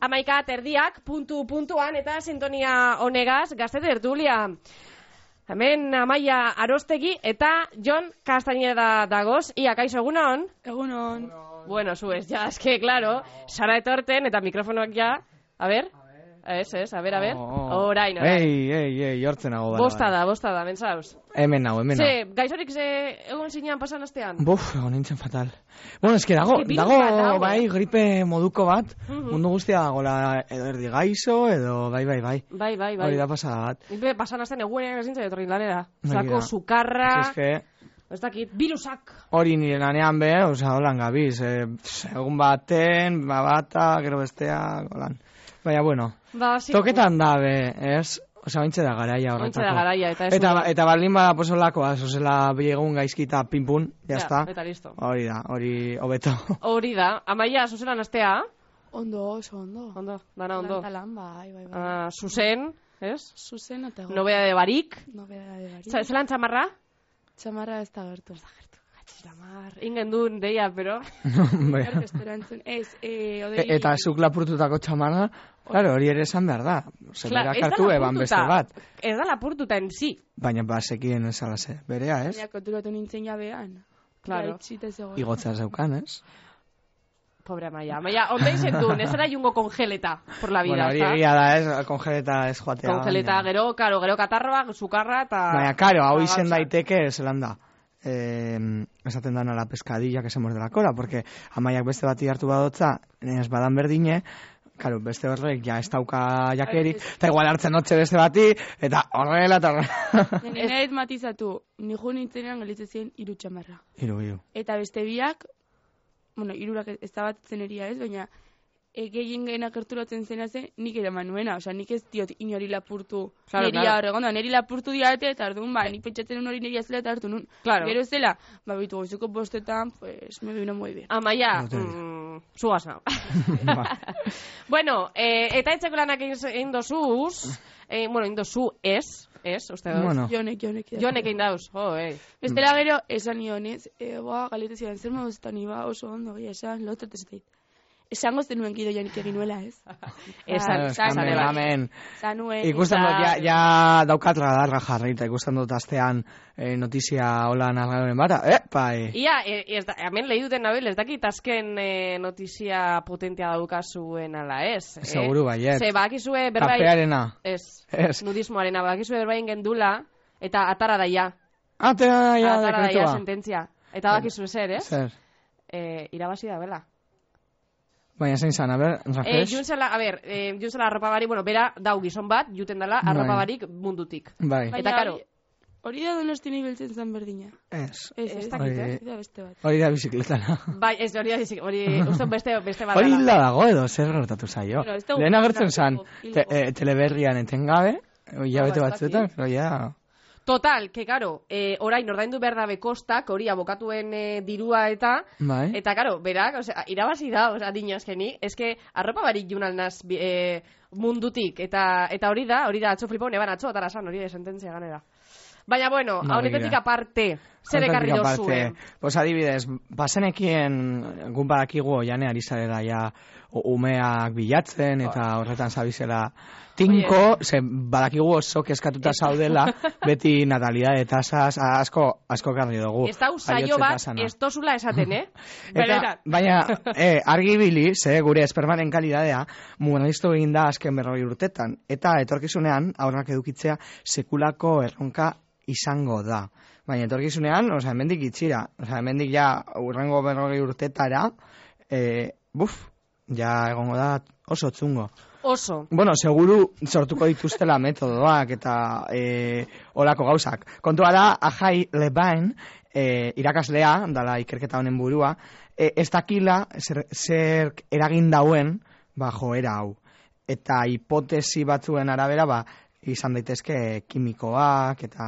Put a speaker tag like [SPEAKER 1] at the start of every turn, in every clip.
[SPEAKER 1] amaika terdiak puntu puntuan eta sintonia honegaz gazte tertulia. Hemen Amaia Arostegi eta Jon Castañeda dagoz. Ia, kaixo, egunon?
[SPEAKER 2] Egunon.
[SPEAKER 1] Bueno, zu ez, ja, eske, claro, Sara etorten eta mikrofonoak ja, a ber, ez, ez, a ber, a ber,
[SPEAKER 3] Oh.
[SPEAKER 1] orain, orain.
[SPEAKER 3] Ei, ei, ei, hortzen nago. bana,
[SPEAKER 1] Bosta
[SPEAKER 3] bana.
[SPEAKER 1] da, bosta da, mentzauz.
[SPEAKER 3] Hemen nago, hemen nago.
[SPEAKER 1] Ze, gaixorik ze egon zinean pasan astean?
[SPEAKER 3] Buf, honintzen fatal. Bueno, eske dago,
[SPEAKER 1] Eske virus
[SPEAKER 3] dago,
[SPEAKER 1] bat dago,
[SPEAKER 3] bai,
[SPEAKER 1] eh?
[SPEAKER 3] gripe moduko bat,
[SPEAKER 1] Mhm.
[SPEAKER 3] mundu guztia dagoela, edo erdi gaizo, edo, bai, bai, bai.
[SPEAKER 1] Bai, bai, bai.
[SPEAKER 3] Hori da pasada bat.
[SPEAKER 1] Ibe, pasan astean eguen egin zintzen etorri lanera.
[SPEAKER 3] Hori
[SPEAKER 1] Zako
[SPEAKER 3] da.
[SPEAKER 1] sukarra,
[SPEAKER 3] Eske,
[SPEAKER 1] ez dakit, virusak.
[SPEAKER 3] hori nire lanean be, oza, holan gabiz, eh, pss, egun baten, ba, bata, gero bestea, holan. Baina, bueno,
[SPEAKER 1] Ba, hasi-
[SPEAKER 3] toketan da, be, ez? Osa, ointxe da garaia
[SPEAKER 1] Oraintxe
[SPEAKER 3] horretako.
[SPEAKER 1] da garaia, eta ez...
[SPEAKER 3] Eta, ba- eta baldin bada posolakoa, zozela biegun gaizkita pinpun, jazta.
[SPEAKER 1] Eta listo.
[SPEAKER 3] Hori da, hori hobeto.
[SPEAKER 1] Hori da, amaia, zuzelan astea,
[SPEAKER 2] Ondo, oso ondo.
[SPEAKER 1] ondo, dana ondo.
[SPEAKER 2] Lan, lan, bai, bai, bai.
[SPEAKER 1] Ah, zuzen, ez?
[SPEAKER 2] Zuzen eta egon.
[SPEAKER 1] Nobea de barik.
[SPEAKER 2] Nobea de bari.
[SPEAKER 1] Za- Zelan txamarra?
[SPEAKER 2] Txamarra ez da gertu. Ez da gertu.
[SPEAKER 1] Txamar, ingen duen deia, pero...
[SPEAKER 3] Hombre.
[SPEAKER 2] Gaur esperantzun. Ez, e, odei...
[SPEAKER 3] Bai. E- eta zuk lapurtutako txamana, claro, hori ere esan behar da.
[SPEAKER 1] Kla-
[SPEAKER 3] Zeberak
[SPEAKER 1] ez da
[SPEAKER 3] hartu eban
[SPEAKER 1] lapurtuta.
[SPEAKER 3] beste bat.
[SPEAKER 1] Ez da lapurtuta en si.
[SPEAKER 3] Baina bazekien esala ze. Berea, ez?
[SPEAKER 2] Baina konturatu nintzen jabean.
[SPEAKER 1] Claro.
[SPEAKER 2] Gaitxita zegoen.
[SPEAKER 3] Igotza zeukan, ez?
[SPEAKER 1] Pobre Amaia. Amaia, onda izen duen, ez da jungo kongeleta por la vida,
[SPEAKER 3] Bueno, hori
[SPEAKER 1] ezta?
[SPEAKER 3] egia da, ez? Kongeleta ez joatea.
[SPEAKER 1] Kongeleta,
[SPEAKER 3] baina-
[SPEAKER 1] gero, karo, gero katarroa, sukarra, eta...
[SPEAKER 3] Baina, karo, hau
[SPEAKER 1] eta
[SPEAKER 3] izen
[SPEAKER 1] Ba, gauzak.
[SPEAKER 3] daiteke, zelan da. Eh, esaten dana la pescadilla que se muerde la cola, porque amaiak beste bati hartu badotza, ez badan berdine, Claro, beste horrek ja ez dauka jakeri, eta igual hartzen notxe beste bati, eta horrela, eta horrela.
[SPEAKER 2] Nire ez matizatu, niju nintzenean gelitzen ziren iru txamarra.
[SPEAKER 3] Iru, iru.
[SPEAKER 2] Eta beste biak, bueno, irurak ez- ez da bat zeneria ez, baina egegin gena gerturatzen zena zen, nik eraman nuena, osea, nik ez diot inori lapurtu
[SPEAKER 1] Claro,
[SPEAKER 2] neria
[SPEAKER 1] claro.
[SPEAKER 2] hor egon da, neri lapurtu diate, eta arduan, ba, nik pentsatzen nun hori neria zela eta hartu nun.
[SPEAKER 1] Claro.
[SPEAKER 2] Gero zela, ba, bitu goizuko bostetan, pues, me vino muy bien.
[SPEAKER 1] Amaia,
[SPEAKER 3] No te digo.
[SPEAKER 1] mm, zugaz nao.
[SPEAKER 3] Ba.
[SPEAKER 1] bueno, eh, eta etxeko lanak egin ze- egin dozuz, eh, bueno, egin dozu ez, ez, uste dut.
[SPEAKER 3] Bueno.
[SPEAKER 2] Jonek, jonek.
[SPEAKER 1] Jonek egin dauz, jo, eh.
[SPEAKER 2] Bestela gero, esan nionez, e, boa, galetu zidan, zer moduz eta ni ba, oso ondo, gira, esan, lotet ez dit. Esango zenuen kido jonik egin nuela, ez?
[SPEAKER 1] Esan,
[SPEAKER 2] Ah,
[SPEAKER 1] esan,
[SPEAKER 3] amen,
[SPEAKER 1] ere bai.
[SPEAKER 3] amen.
[SPEAKER 2] Zanuen,
[SPEAKER 3] Ikusten
[SPEAKER 1] Eta-
[SPEAKER 3] dut, ja, ja daukat radarra jarri, eta ikusten dut astean eh, notizia hola narraren bata. Eh, pai!
[SPEAKER 1] Ia, e, ez da, hemen lehi duten nabil, ez dakit azken eh, notizia potentea daukazuen ala ez. Eh?
[SPEAKER 3] Seguru baiet.
[SPEAKER 1] Ze, bakizue berbai...
[SPEAKER 3] Kapearena.
[SPEAKER 1] Ez,
[SPEAKER 3] Ez.
[SPEAKER 1] nudismoarena, bakizue berbain gendula, eta atara daia.
[SPEAKER 3] Atera Ah, ja
[SPEAKER 1] atara daia
[SPEAKER 3] dekretua.
[SPEAKER 1] sententzia. Eta bakizue zer, ez?
[SPEAKER 3] Zer.
[SPEAKER 1] Eh, irabazi da, bela.
[SPEAKER 3] Baina zein zan, a ber,
[SPEAKER 1] Eh,
[SPEAKER 3] Rafes?
[SPEAKER 1] juntzela, a ber, eh, juntzela arropa barik, bueno, bera dau gizon bat, juten dela
[SPEAKER 3] Bai.
[SPEAKER 1] arropa barik mundutik.
[SPEAKER 3] Bai,
[SPEAKER 1] Eta, karo.
[SPEAKER 2] hori- Hori da donosti ibiltzen zen berdina.
[SPEAKER 3] ez.
[SPEAKER 2] Ez,
[SPEAKER 1] Ez
[SPEAKER 2] ez,
[SPEAKER 1] dakit,
[SPEAKER 3] Hori- eh?
[SPEAKER 2] ez da beste bat.
[SPEAKER 3] Hori da bizikletana.
[SPEAKER 1] Bai, ez hori, hori, hori uste dut beste, beste bat
[SPEAKER 3] Hori
[SPEAKER 1] dela.
[SPEAKER 3] hilda dago edo, zer gertatu zaio.
[SPEAKER 2] Bueno, ez dugu
[SPEAKER 3] Lehen agertzen zan,
[SPEAKER 2] kontratuko,
[SPEAKER 3] te,
[SPEAKER 2] hilgo.
[SPEAKER 3] eh, teleberrian etengabe, hilabete
[SPEAKER 1] Ah, ba, ez
[SPEAKER 3] batzuetan,
[SPEAKER 1] dakit.
[SPEAKER 3] pero ja...
[SPEAKER 1] Total, que karo, eh, orain ordaindu behar dabe kostak, hori abokatuen eh, dirua eta,
[SPEAKER 3] Bai.
[SPEAKER 1] eta karo, berak, osea, irabazi da, osea, dino eskeni, eske arropa barik junal naz bi- eh, mundutik, eta, eta hori da, hori da, atzo flipau, neban atzo, atara san, hori da, sententzia ganera. Baina, bueno,
[SPEAKER 3] Ba,
[SPEAKER 1] honetetik
[SPEAKER 3] begira.
[SPEAKER 1] aparte, zer ekarri
[SPEAKER 3] Horretatik
[SPEAKER 1] dozu, eh?
[SPEAKER 3] aparte, Pues adibidez, bazenekien gun badakigu jane ari zarela ja u- umeak bilatzen eta
[SPEAKER 1] Bai.
[SPEAKER 3] horretan zabizela tinko, ze badakigu oso kezkatuta zaudela beti natalidade tasas a- asko asko karri dugu.
[SPEAKER 1] Ez da usaio
[SPEAKER 3] jaiotze
[SPEAKER 1] bat,
[SPEAKER 3] tasana.
[SPEAKER 1] ez dozula esaten, eh?
[SPEAKER 3] Oh, Eta,
[SPEAKER 1] Benetan.
[SPEAKER 3] baina, eh, argi bili, ze gure espermaren kalidadea, muganaiztu egin da azken berroi urtetan. Eta etorkizunean, aurrak edukitzea sekulako erronka izango da. Baina etorkizunean, osea, hemendik itxira, osea, hemendik ja urrengo berroi urtetara, eh, buf, ja egongo da oso txungo.
[SPEAKER 1] Oso.
[SPEAKER 3] Bueno, seguru sortuko dituztela metodoak eta e, olako gauzak. Kontua da, Ajai Lebain, e, irakaslea, dala ikerketa honen burua, e, ez dakila zer, zer eragin dauen ba, joera hau. Eta hipotesi batzuen arabera, ba, izan daitezke kimikoak eta...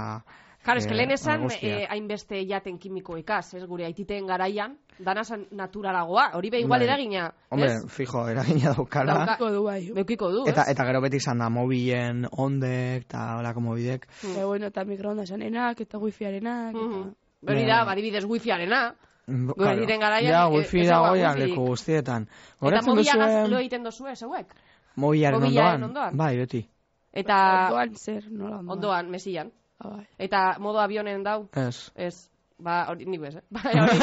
[SPEAKER 1] Claro, eske
[SPEAKER 3] eh,
[SPEAKER 1] lehen esan
[SPEAKER 3] guztiak.
[SPEAKER 1] eh, hainbeste jaten kimiko ikas, ez gure aititeen garaian, dana san naturalagoa, hori be igual
[SPEAKER 3] Bai.
[SPEAKER 1] eragina,
[SPEAKER 3] Hombre,
[SPEAKER 1] ez?
[SPEAKER 3] fijo, eragina daukala.
[SPEAKER 1] Dauka-
[SPEAKER 2] Ko du bai.
[SPEAKER 1] Beukiko du,
[SPEAKER 3] Eta,
[SPEAKER 1] ez?
[SPEAKER 3] eta gero beti izan da mobilen ondek eta olako mobidek.
[SPEAKER 2] Eta bueno, eta mikroondasanenak, eta wifiarenak,
[SPEAKER 1] Mhm.
[SPEAKER 2] eta...
[SPEAKER 1] Hori da, badibidez wifiarena,
[SPEAKER 3] Mm,
[SPEAKER 1] Gure diren garaian,
[SPEAKER 3] Ja,
[SPEAKER 1] e-
[SPEAKER 3] wifi
[SPEAKER 1] ez dago
[SPEAKER 3] dagoia
[SPEAKER 1] wifirik.
[SPEAKER 3] leku guztietan.
[SPEAKER 1] eta
[SPEAKER 3] Goratzen
[SPEAKER 1] mobilagaz
[SPEAKER 3] duzuen-
[SPEAKER 1] lo egiten dozu, ez, hauek?
[SPEAKER 3] Mobilaren
[SPEAKER 1] Mobilaren
[SPEAKER 3] ondoan.
[SPEAKER 1] ondoan?
[SPEAKER 3] Bai, beti.
[SPEAKER 1] Eta
[SPEAKER 2] Ondoan zer, nola ondoan?
[SPEAKER 1] ondoan, mesilan.
[SPEAKER 2] Ah, bai.
[SPEAKER 1] Eta modo avionen dau,
[SPEAKER 3] Ez.
[SPEAKER 1] ez, ba, hori nik bez, eh? Baina hori,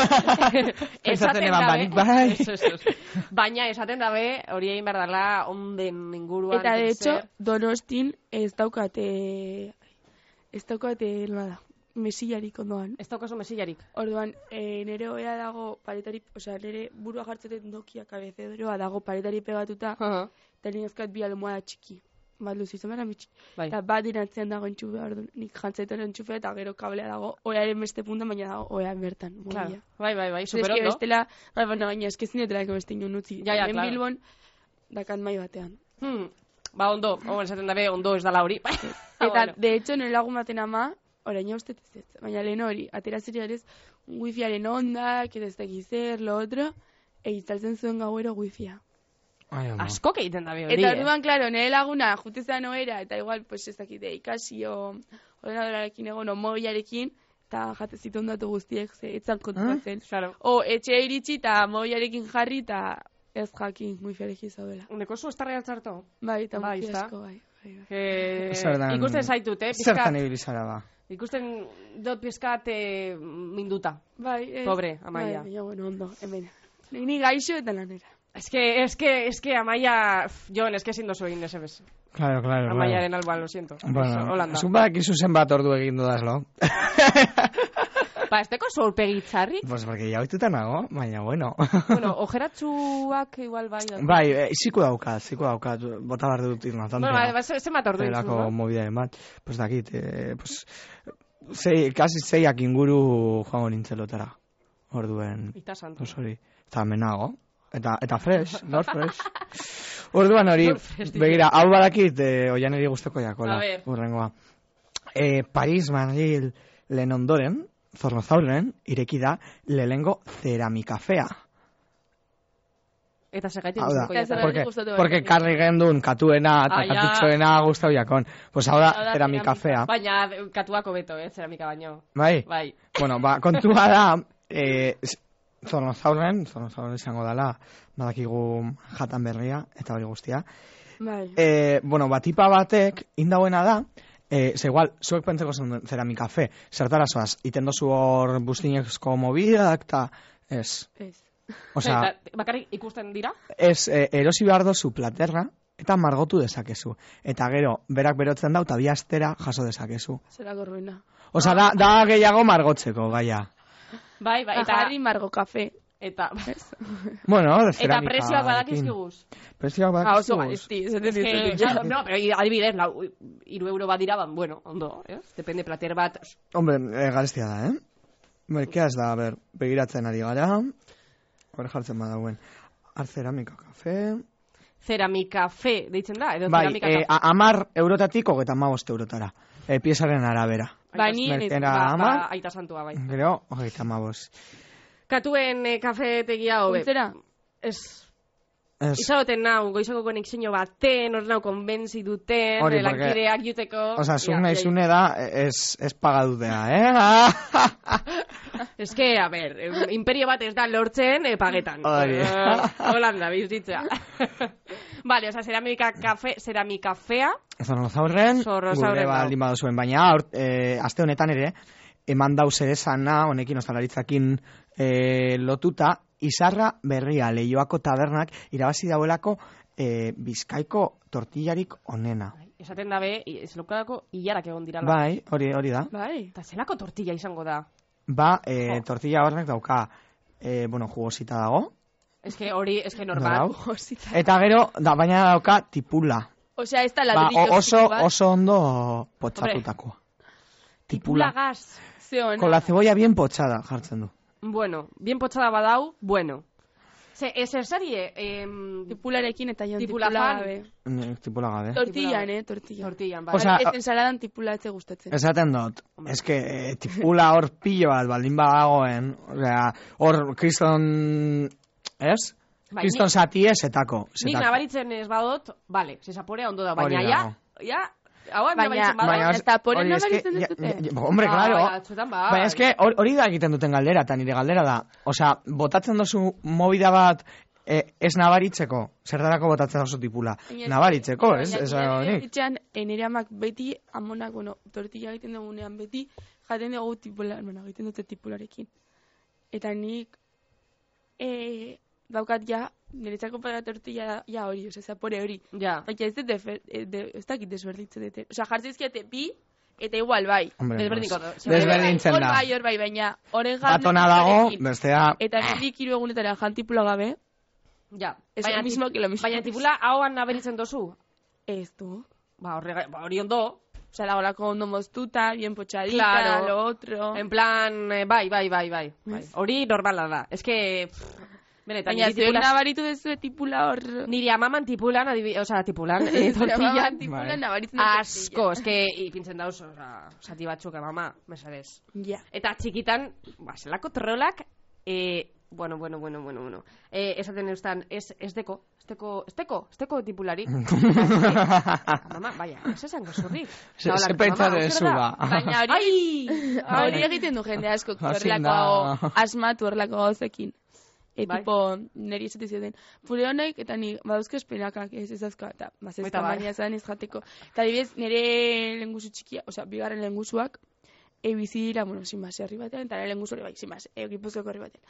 [SPEAKER 3] Pentsatzen eban
[SPEAKER 1] dabe-
[SPEAKER 3] banik, bai.
[SPEAKER 1] Ez, ez, ez. Baina esaten dabe, hori egin behar dela, onden inguruan.
[SPEAKER 2] Eta, de hecho,
[SPEAKER 1] zer.
[SPEAKER 2] donostin ez daukate... Ez daukate, nola da, mesillarik ondoan.
[SPEAKER 1] Ez daukazu mesilarik.
[SPEAKER 2] Orduan, e, nere oea dago paretari, osea, nere burua jartzeten dokia kabezedroa dago paretari pegatuta,
[SPEAKER 1] Aha,
[SPEAKER 2] eta linezkat bi almohada txiki. Bat luzi izan behar amitxi.
[SPEAKER 1] Bai.
[SPEAKER 2] Eta bat dinatzean dago entxufea, orduan, nik jantzetan entxufea eta gero kablea dago, oearen beste punta, baina dago oean bertan.
[SPEAKER 1] Claro.
[SPEAKER 2] mobila.
[SPEAKER 1] Bai, bai, bai,
[SPEAKER 2] Eske
[SPEAKER 1] superondo.
[SPEAKER 2] bestela, bai, baina gaina, eske ezin dutela eko beste inon utzi.
[SPEAKER 1] Ja, ja,
[SPEAKER 2] Hemen
[SPEAKER 1] claro.
[SPEAKER 2] Bilbon, dakat mai batean.
[SPEAKER 1] Hmm. Ba, ondo, ondo esaten dabe, ondo ez dala hori. Ah,
[SPEAKER 2] Eta,
[SPEAKER 1] bueno.
[SPEAKER 2] de hecho, nire lagun baten ama, orain uste ez ez. Baina lehen hori, atera zirialez, wifiaren ondak, eta ez dakiz zer, lo otro, egitzaltzen zuen gauero wifia.
[SPEAKER 3] Ai, ama.
[SPEAKER 1] Askok egiten dabe hori,
[SPEAKER 2] Eta
[SPEAKER 1] eh?
[SPEAKER 2] orduan, claro, nire laguna, jutezan oera, eta igual, pues ez dakite, ikasi, o ordenadorarekin egon, o mobilarekin, eta jate zituen datu guztiek, ze, etzan kontuatzen.
[SPEAKER 1] Claro.
[SPEAKER 2] O, etxe iritsi, eta mobilarekin jarri, eta ez jakin wifiarekin zaudela.
[SPEAKER 1] Uneko zu estarri altzarto?
[SPEAKER 2] Bai, eta
[SPEAKER 1] Bai,
[SPEAKER 2] bai,
[SPEAKER 1] ezta?
[SPEAKER 2] asko, bai, bai, bai.
[SPEAKER 1] Eh,
[SPEAKER 3] Zertan-
[SPEAKER 1] ikusten zaitut, eh? pizkat.
[SPEAKER 3] Zertan ibili zara ba.
[SPEAKER 1] Ikusten dut pizkat eh, minduta.
[SPEAKER 2] Bai, ez.
[SPEAKER 1] Pobre, Amaia.
[SPEAKER 2] Bai, baina, bueno, ondo, hemen. Ni, ni gaixo eta lanera.
[SPEAKER 1] Es que, es que, es que Amaia, pff, Jon, es que ezin dozu egin SBS.
[SPEAKER 3] Claro, claro,
[SPEAKER 1] Amaiaren alboan, lo siento. Eso,
[SPEAKER 3] Bueno,
[SPEAKER 1] Holanda.
[SPEAKER 3] zun badakizu zenbat ordu egin dudazlo.
[SPEAKER 1] Ba, ez teko zorpegitzarrik?
[SPEAKER 3] Pues porque ya oituta nago, baina bueno.
[SPEAKER 1] bueno, ojeratxuak igual bai. da.
[SPEAKER 3] bai, eh, ziku daukat, ziku daukat, bota behar dut irnatan.
[SPEAKER 1] bueno, ba, ba, ze, zenbat ordu
[SPEAKER 3] Zelako
[SPEAKER 1] dizu, no?
[SPEAKER 3] mobidearen bat, pues dakit, eh, pues, zei, kasi zeiak inguru joango nintzelotara, orduen,
[SPEAKER 1] Ita santo.
[SPEAKER 3] pues hori, Oh, eta menago, eta, eta fresh, nor fresh. Orduan hori,
[SPEAKER 1] Nor fresh, dira.
[SPEAKER 3] begira, hau badakit, eh, oian eri guztoko
[SPEAKER 1] A
[SPEAKER 3] jakola,
[SPEAKER 1] ver.
[SPEAKER 3] urrengoa. Eh, Paris Madrid lehen ondoren, zornozauren, ireki da, lehengo ceramikafea.
[SPEAKER 1] Eta segaitik
[SPEAKER 3] Hau da,
[SPEAKER 1] gustuko
[SPEAKER 2] Eta
[SPEAKER 1] jaten.
[SPEAKER 2] zergatik
[SPEAKER 3] porque,
[SPEAKER 2] gustatu
[SPEAKER 3] porque
[SPEAKER 2] barik.
[SPEAKER 3] karri gendun katuena eta
[SPEAKER 1] Ah, ja.
[SPEAKER 3] katutxoena guztau jakon. Pues hau
[SPEAKER 2] Hau
[SPEAKER 3] da,
[SPEAKER 2] da,
[SPEAKER 3] ceramikafea.
[SPEAKER 1] Baina de- katuako beto, eh, zeramika baino.
[SPEAKER 3] Bai?
[SPEAKER 1] Bai.
[SPEAKER 3] Bueno, ba, kontua da, e, zornozauren, zornozauren izango dela, badakigu jatan berria, eta hori guztia.
[SPEAKER 2] Bai.
[SPEAKER 1] Eh.
[SPEAKER 3] E, bueno, ba, tipa batek, indauena da, e, ze igual, zuek pentseko zen ceramika fe, zertara zoaz, iten dozu hor bustinezko mobidak, eta ez.
[SPEAKER 2] Ez.
[SPEAKER 3] Osea,
[SPEAKER 1] Eta bakarrik ikusten dira?
[SPEAKER 3] ez, e, erosi behar dozu platerra, eta margotu dezakezu. Eta gero, berak berotzen dau, eta bi astera jaso dezakezu.
[SPEAKER 2] Zera gorruena.
[SPEAKER 3] Osea, da, da gehiago margotzeko, gaia.
[SPEAKER 1] Bai, bai,
[SPEAKER 2] Eta
[SPEAKER 1] eta...
[SPEAKER 2] harri margo kafe.
[SPEAKER 1] Eta,
[SPEAKER 3] Bueno,
[SPEAKER 1] eta
[SPEAKER 3] zeramika
[SPEAKER 1] presioak
[SPEAKER 3] Eh, ekin.
[SPEAKER 1] badakizkiguz.
[SPEAKER 3] Prezioak
[SPEAKER 2] Ah,
[SPEAKER 3] badakizuz.
[SPEAKER 2] oso gaizti. Zaten
[SPEAKER 1] Eh,
[SPEAKER 2] dizut.
[SPEAKER 1] ja, no, pero adibidez, lau, iru euro badira, ban, bueno, ondo, eh? Depende plater bat,
[SPEAKER 3] Hombre, e, garestia da, eh? Merkea ez da, ber, begiratzen ari gara. Hor jartzen badauen. Arceramika kafe.
[SPEAKER 1] ceramika fe, deitzen da, edo
[SPEAKER 3] Bai,
[SPEAKER 1] ceramika
[SPEAKER 3] e,
[SPEAKER 1] kafe.
[SPEAKER 3] a, amar eurotatik hogeita mabost eurotara. E, piezaren arabera.
[SPEAKER 2] Ba, ni ez.
[SPEAKER 3] Merkena
[SPEAKER 1] Ba,
[SPEAKER 3] ama,
[SPEAKER 1] ba, aita santua, bai.
[SPEAKER 3] gero, hogeita mabost.
[SPEAKER 1] Katuen eh, kafetegia hobe.
[SPEAKER 2] Zera?
[SPEAKER 1] Ez,
[SPEAKER 3] Ez,
[SPEAKER 1] izagoten nau, goizoko konexio baten, hor nau konbentzi duten,
[SPEAKER 3] Hori,
[SPEAKER 1] Hori, lankideak juteko.
[SPEAKER 3] Osa, zuk
[SPEAKER 1] Ja,
[SPEAKER 3] nahi
[SPEAKER 1] ja,
[SPEAKER 3] zune da, ez, ez pagadudea, eh?
[SPEAKER 1] Ez que, a ber, eh, imperio bat ez da lortzen eh, pagetan.
[SPEAKER 3] Hori.
[SPEAKER 1] Eh, Holanda, bizitzea. vale, osa, ceramika kafe, ceramika fea,
[SPEAKER 3] Zornozaurren,
[SPEAKER 1] Zornozaurren
[SPEAKER 3] gure
[SPEAKER 1] dago.
[SPEAKER 3] baldin badu zuen, baina aur, e, aste honetan ere, eman dau ere sana, honekin ostalaritzakin e, lotuta, izarra berria leioako tabernak irabazi dauelako e, bizkaiko tortillarik onena.
[SPEAKER 1] esaten dabe, i- ez lokadako hilarak egon dirala.
[SPEAKER 3] Bai, hori hori da.
[SPEAKER 2] Bai.
[SPEAKER 1] Eta zelako tortilla izango da.
[SPEAKER 3] Ba, e,
[SPEAKER 1] Jo.
[SPEAKER 3] tortilla horrek dauka, e, bueno, jugosita dago.
[SPEAKER 1] Ez que hori, ez que
[SPEAKER 3] Normal.
[SPEAKER 1] normal.
[SPEAKER 2] Osita.
[SPEAKER 3] Eta gero, da, baina dauka tipula.
[SPEAKER 2] Osea, ez da
[SPEAKER 3] Ba,
[SPEAKER 2] ladrillo
[SPEAKER 3] o- oso,
[SPEAKER 2] bat.
[SPEAKER 3] oso ondo potxatutakoa. Tipula.
[SPEAKER 1] Tipulagaz.
[SPEAKER 2] Ze ona.
[SPEAKER 3] Con la cebolla bien pochada jartzen du.
[SPEAKER 1] Bueno, bien potxada badau, bueno. Ze, ez esarie, em,
[SPEAKER 2] Tipularekin eta jon
[SPEAKER 1] Tipula
[SPEAKER 2] tipula
[SPEAKER 1] fan.
[SPEAKER 2] gabe.
[SPEAKER 3] Mm, Tipula gabe.
[SPEAKER 2] Tortillan, eh, tortillan.
[SPEAKER 1] tortillan, bai.
[SPEAKER 3] Osea,
[SPEAKER 2] Ez ensaladan tipula etze gustatzen.
[SPEAKER 3] Esaten dut,
[SPEAKER 1] Hombre.
[SPEAKER 3] eske eh, tipula hor pilo bat baldin badagoen, osea, hor kriston, ez?
[SPEAKER 1] Bai,
[SPEAKER 3] Kriston
[SPEAKER 1] nik-
[SPEAKER 3] zati ezetako.
[SPEAKER 1] Nik nabaritzen ez badot, vale, zesaporea ondo da, baina
[SPEAKER 3] Hori
[SPEAKER 1] ja,
[SPEAKER 3] dago.
[SPEAKER 1] ja, hauan
[SPEAKER 2] Baina-
[SPEAKER 1] nabaritzen badot.
[SPEAKER 2] Baina- eta poren
[SPEAKER 3] hori eske-
[SPEAKER 2] nabaritzen
[SPEAKER 3] ja-
[SPEAKER 2] duzute.
[SPEAKER 3] ja- ja- Hombre,
[SPEAKER 1] Ah,
[SPEAKER 3] claro.
[SPEAKER 1] bai, batzuetan bai.
[SPEAKER 3] Baina eske hor- hori da egiten duten galdera, eta nire galdera da. Osea, botatzen duzu mobida bat e, ez nabaritzeko, zertarako botatzen oso tipula. Nabaritzeko, ez? Ez
[SPEAKER 2] honik.
[SPEAKER 3] honik.
[SPEAKER 2] Etxean, nire amak beti, amonak, bueno, tortilla egiten dugunean beti, jaten dugu tipula, bueno, egiten dute tipularekin. Eta nik, e, daukat ja, niretzako para tortilla, ja hori, osea, zapore hori.
[SPEAKER 1] Ja.
[SPEAKER 2] Baina ez dut, defer- eh, de, ez dakit desberdintzen dute. Osea, jartzizkiate bi, eta igual, bai.
[SPEAKER 3] Hombre,
[SPEAKER 1] Desberdineko
[SPEAKER 3] ez.
[SPEAKER 1] da.
[SPEAKER 3] Desberdintzen
[SPEAKER 2] Hor
[SPEAKER 3] da.
[SPEAKER 2] bai, hor bai, baina, horren
[SPEAKER 3] Batona dago, eh,
[SPEAKER 2] jartzen dutenarekin.
[SPEAKER 3] bestea...
[SPEAKER 2] Eta nik hiru egunetara jantipula gabe,
[SPEAKER 1] Ja.
[SPEAKER 2] Es
[SPEAKER 1] Baina
[SPEAKER 2] lo mismo
[SPEAKER 1] tip-
[SPEAKER 2] que lo mismo.
[SPEAKER 1] Baina tipula hauan nabaritzen dozu.
[SPEAKER 2] ez du.
[SPEAKER 1] Ba, horrega, ba, hori ondo.
[SPEAKER 2] Osea, dagoelako ondo moztuta, bien potxadita,
[SPEAKER 1] Claro.
[SPEAKER 2] lo otro.
[SPEAKER 1] En plan, eh, bai, bai, bai, bai. bai. Hori normala da. Ez que... pff, Benetan,
[SPEAKER 2] Baina,
[SPEAKER 1] niri
[SPEAKER 2] zuek
[SPEAKER 1] tipula-
[SPEAKER 2] nabaritu duzu tipula hor...
[SPEAKER 1] Nire amaman tipulan, adibi, o sea, tipulan, eh, tortillan,
[SPEAKER 2] tipula
[SPEAKER 3] Bai.
[SPEAKER 2] nabaritzen da
[SPEAKER 1] asko, eske ipintzen dauz, o sea, sati batzuk, amama, mesadez.
[SPEAKER 2] tortilla. Ja.
[SPEAKER 1] Eta txikitan, ba, zelako trolak, eh, bueno, bueno, bueno, bueno, bueno. Eh, esaten eustan, ez, ez deko, ez deko, ez deko, ez deko tipulari. Mama, baina, ez esan gozurri.
[SPEAKER 3] Ze- ze pentsa duzu, ba.
[SPEAKER 1] Baina hori... Ai!
[SPEAKER 2] Hori egiten du jende asko,
[SPEAKER 3] Hasi
[SPEAKER 2] horrelako
[SPEAKER 3] da.
[SPEAKER 2] asmatu horrelako gauzekin. E,
[SPEAKER 1] Bai.
[SPEAKER 2] tipo, niri esate zioten, pure honek eta ni badauzko espinakak, ez ez azka, eta bazez
[SPEAKER 1] Eta bai.
[SPEAKER 2] tamaina zan ez jateko. Eta dibidez, nire lengusu txikia, osea, bigarren lengusuak, e, bizi dira, bueno, sinbaz, herri batean, eta nire lengusu hori bai, sinbaz, e, gipuzkoako herri batean.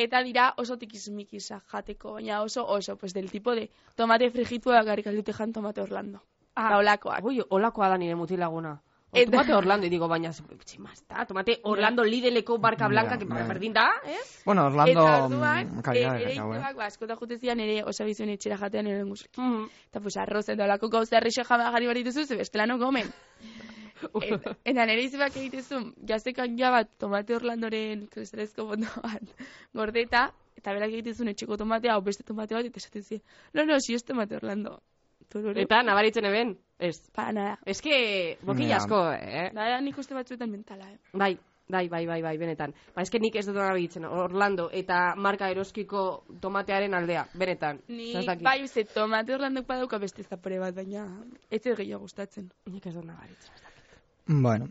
[SPEAKER 2] Eta dira oso tikizmikiza jateko, baina oso, oso, pues del tipo de tomate frijitua garrik aldute jan tomate orlando. Ah, olakoak.
[SPEAKER 1] Ui, olakoa da nire mutilaguna. O,
[SPEAKER 2] Eta-
[SPEAKER 1] Tomate Orlando, y digo, baina, tximazta, tomate Orlando lideleko barka blanca, que
[SPEAKER 3] bai.
[SPEAKER 1] berdin da, eh?
[SPEAKER 3] Bueno, Orlando...
[SPEAKER 2] Eta orduan,
[SPEAKER 3] mm,
[SPEAKER 2] e,
[SPEAKER 3] kalidade
[SPEAKER 2] ere
[SPEAKER 3] kakao, eh?
[SPEAKER 2] izabak, ba, askotan jute zian ere osabizuen etxera jatean ere lengusu.
[SPEAKER 1] Mm.
[SPEAKER 2] Eta pues arroz eta olako gauza errexo jama jari behar dituzu, ze bestela no gomen. Et- Eta nire izabak egitezu, jazekan ja bat tomate orlandoren kristalezko bondo bat gordeta, eta berak egitezun etxeko tomatea, hau beste tomate bat, eta esaten ziren, no, no, si ez tomate orlando. Tururu,
[SPEAKER 1] Eta nabaritzen eben, ez.
[SPEAKER 2] pa, nada.
[SPEAKER 1] Ez que, boki
[SPEAKER 3] Ja.
[SPEAKER 1] asko, eh?
[SPEAKER 2] Da, nik uste batzuetan mentala, eh.
[SPEAKER 1] Bai, bai, bai, bai, bai, benetan. Ba, eske nik ez dut nabaritzen, Orlando eta marka eroskiko tomatearen aldea, benetan.
[SPEAKER 2] Ni
[SPEAKER 1] Zertaki.
[SPEAKER 2] bai uste tomate orlandok badauka beste zapore bat, baina ez zait gehiago gustatzen.
[SPEAKER 1] Nik ez dut nabaritzen. ez dakit.
[SPEAKER 3] Bueno,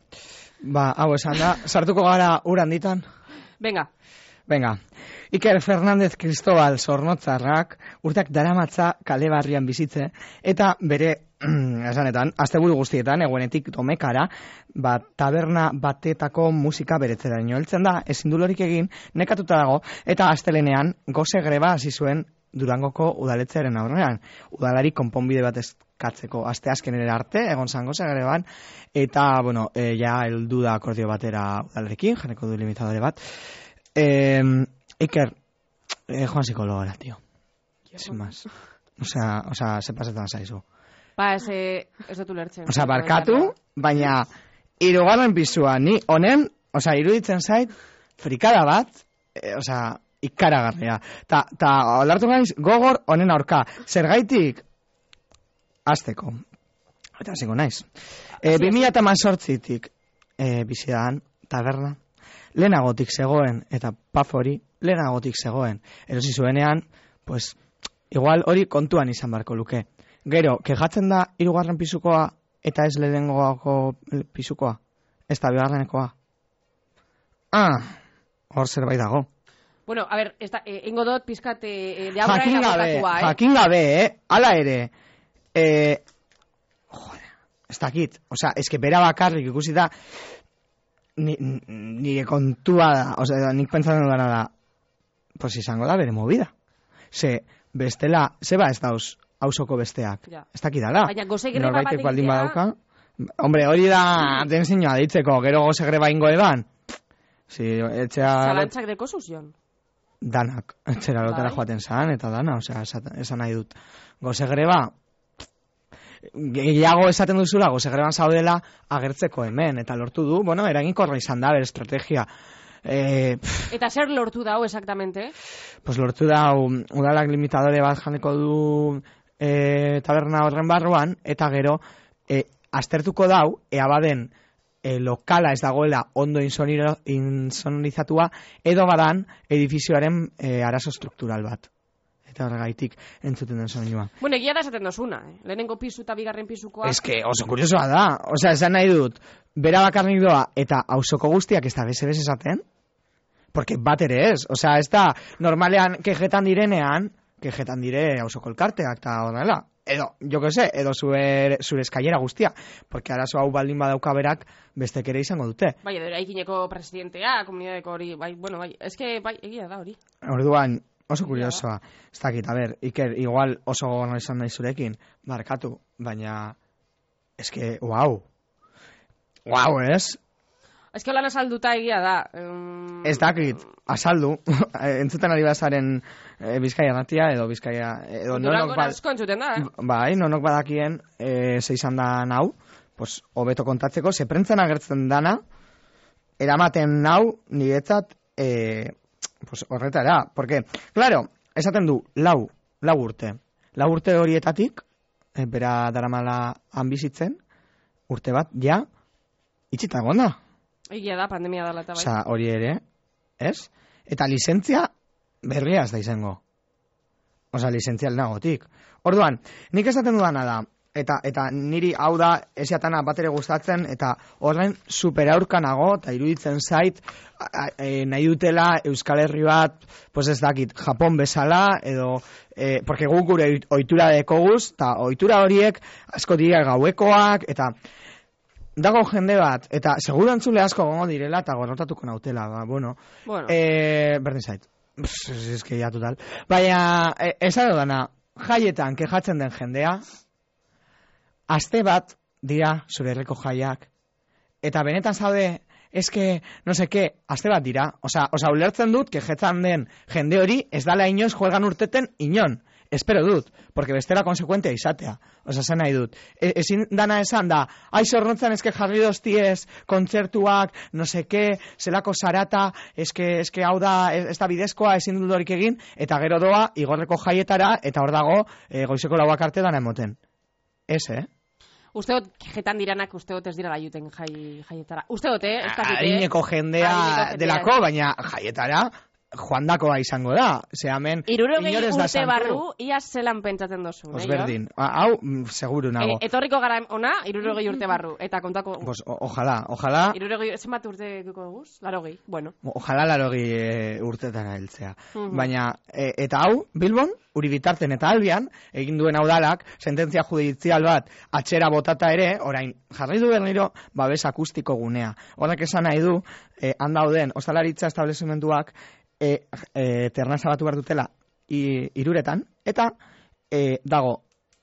[SPEAKER 3] ba, hau esan da, sartuko gara ur handitan.
[SPEAKER 1] Venga,
[SPEAKER 3] Venga, Iker Fernandez Cristobal zornotzarrak urteak daramatza kale barrian bizitze, eta bere, esanetan, asteburu guztietan, eguenetik domekara, ba, taberna batetako musika beretzera heltzen da, ezin du lorik egin, nekatuta dago, eta astelenean goze greba hasi zuen Durangoko udaletzearen aurrean. Udalari konponbide bat eskatzeko aste azkenera arte, egon zango zegreban, eta, bueno, e, ja heldu da akordio batera udalarekin, jarriko du limitadore bat, Eh, Iker, eh, Juan psicóloga, tío. Sin más. O sea, o sea, se pasetan zaizu.
[SPEAKER 1] ba, ez, eh, ez dut ulertzen.
[SPEAKER 3] O sea, barkatu, baina hirugarren pisua ni honen, o sea, iruditzen zait frikada bat, eh, o sea, ikaragarria. Ta ta olartu gaiz gogor honen aurka. Zergaitik hasteko. Eta hasiko naiz. Eh, 2018tik eh bizidan taberna lehenagotik zegoen eta paf hori lehenagotik zegoen. Erosi zuenean, pues igual hori kontuan izan beharko luke. Gero, kejatzen da hirugarren pisukoa eta ez lehenengoako pisukoa. Ez da bigarrenekoa. Ah, hor zerbait dago.
[SPEAKER 1] Bueno, a ver, ez da, eh, ingo dut pizkat eh, eh, de aurra
[SPEAKER 3] Jakin
[SPEAKER 1] eta
[SPEAKER 3] gabe,
[SPEAKER 1] bukatua, eh?
[SPEAKER 3] jakin gabe, eh? Hala ere, eh, joder, ez dakit. Osea, eske bera bakarrik ikusi da, ni, n- nire kontua da, osea, nik pentsatzen dudana da, pues izango da bere movida. Ze, bestela, zeba ez dauz, hausoko besteak.
[SPEAKER 1] Ja.
[SPEAKER 3] Ez dakit ala.
[SPEAKER 1] Baina goze greba
[SPEAKER 3] Norbaitek
[SPEAKER 1] bat
[SPEAKER 3] baldin
[SPEAKER 1] egitea-
[SPEAKER 3] badauka. Hombre, hori da, den zinua deitzeko, gero goze greba ingo eban. Si, etxea,
[SPEAKER 1] Zalantzak deko zuzion.
[SPEAKER 3] danak etxera lotara
[SPEAKER 1] Bai.
[SPEAKER 3] joaten zan, eta dana, osea, esat- esan nahi dut. Goze greba, gehiago esaten duzula, goze greban zaudela agertzeko hemen, eta lortu du, bueno, eraginkorra izan da, bere estrategia. E, pff,
[SPEAKER 1] Eta zer lortu dau, exactamente?
[SPEAKER 3] pues lortu da, um, udalak limitadore bat janeko du e, taberna horren barruan, eta gero, e, aztertuko dau, ea baden, e, lokala ez dagoela ondo insoniro- insonorizatua, edo badan edifizioaren e, arazo struktural bat. Eta horregaitik entzuten den soinua.
[SPEAKER 1] Bueno, egia da esaten dozuna, eh? Lehenengo pisu eta bigarren pisukoa.
[SPEAKER 3] Ez que oso kuriosoa da. Osea, esan nahi dut, bera bakarrik doa eta ausoko guztiak ez da bese esaten? Porque bat ere ez. Osea, ez da normalean kejetan direnean, kejetan dire auzoko elkarteak eta horrela. Edo, jo que se, edo zure, zure eskailera guztia. Porque arazo hau baldin badauka berak bestek ere izango dute.
[SPEAKER 1] Bai, edo eraikineko presidentea, komunidadeko hori, bai, bueno, bai, eske, bai, egia da hori.
[SPEAKER 3] Orduan, oso kuriosoa. Ez dakit, a ber, Iker, igual oso gogorra izan nahi zurekin, markatu, baina, eske, wow. Wow, ez?
[SPEAKER 1] Eske holan azalduta egia da. Um,
[SPEAKER 3] Ez dakit, azaldu, eh, entzuten ari bazaren e, Bizkaia natia, edo Bizkaia, eh, edo nonok,
[SPEAKER 1] Durangon
[SPEAKER 3] bad,
[SPEAKER 1] asko entzuten da, eh?
[SPEAKER 3] bai, nonok badakien e, ze izan da nau, pues, hobeto kontatzeko, ze prentzen agertzen dana, eramaten nau, niretzat, e, pues, horretara, porque, claro, esaten du, lau, lau urte, lau urte horietatik, e, bera daramala han bizitzen, urte bat, ja, itxita egon da.
[SPEAKER 1] Egia da, pandemia dela eta bai.
[SPEAKER 3] Osa, hori ere, ez? Eta lizentzia berria ez da izango. Osa, lizentzial nagotik. Orduan, nik esaten dudana da, eta, eta niri hau da esiatana bat ere gustatzen, eta horren superaurka nago, eta iruditzen zait, a- a- e, nahi dutela Euskal Herri bat, pues ez dakit, Japon bezala, edo, e, porque guk gure ohi- ohitura dekoguz, eta ohitura horiek asko dira gauekoak, eta dago jende bat, eta segurantzule asko gongo direla, eta gorrotatuko nautela, ba, bueno.
[SPEAKER 1] Bueno,
[SPEAKER 3] Eh, berdin zait. Pff, Ez ez que ya total. Baina, e, esan dana, jaietan kejatzen den jendea, aste bat dira zure herriko jaiak. Eta benetan zaude, eske, no seke, aste bat dira. Osa, osa ulertzen dut, kejetzen den jende hori, ez dala inoiz juegan urteten inon. Espero dut, porque bestela konsekuentea izatea. Osa, zen nahi dut. E, ezin dana esan da, ai zorrotzan eske jarri doztiez, kontzertuak, no seke, zelako sarata, eske, eske hau da, ez, ez da bidezkoa, ezin dut horik egin, eta gero doa, igorreko jaietara, eta hor dago, e, goizeko lauak arte dana emoten. Ez, eh?
[SPEAKER 1] uste dut, jetan diranak uste dut ez dira juten jai, jaietara. Uste dut, eh? Ez dakit, eh?
[SPEAKER 3] Adineko jendea
[SPEAKER 1] Adineko jendea.
[SPEAKER 3] delako, baina jaietara joandakoa izango da. Ze hemen
[SPEAKER 1] Irurogei
[SPEAKER 3] inor ez da
[SPEAKER 1] urte
[SPEAKER 3] santu.
[SPEAKER 1] barru, ia zelan pentsatzen dozu.
[SPEAKER 3] Osberdin. Ha- Hau, mm, seguru nago.
[SPEAKER 1] E, etorriko gara ona, irurogei urte barru. Eta kontako,
[SPEAKER 3] Pues, o- ojalá, ojalá,
[SPEAKER 1] irurogei, zenbat urte guko guz? Laro gehi, bueno.
[SPEAKER 3] ojalá laro urtetara heltzea.
[SPEAKER 1] Mhm.
[SPEAKER 3] Baina, e, eta hau, Bilbon, uribitarten eta albian, egin duen audalak, sententzia judizial bat, atxera botata ere, orain, jarri du berriro, babes akustiko gunea. Horrek esan nahi du, e, han dauden, ostalaritza establezimenduak, e, e, ternaza batu behar dutela, i, iruretan, eta e, dago,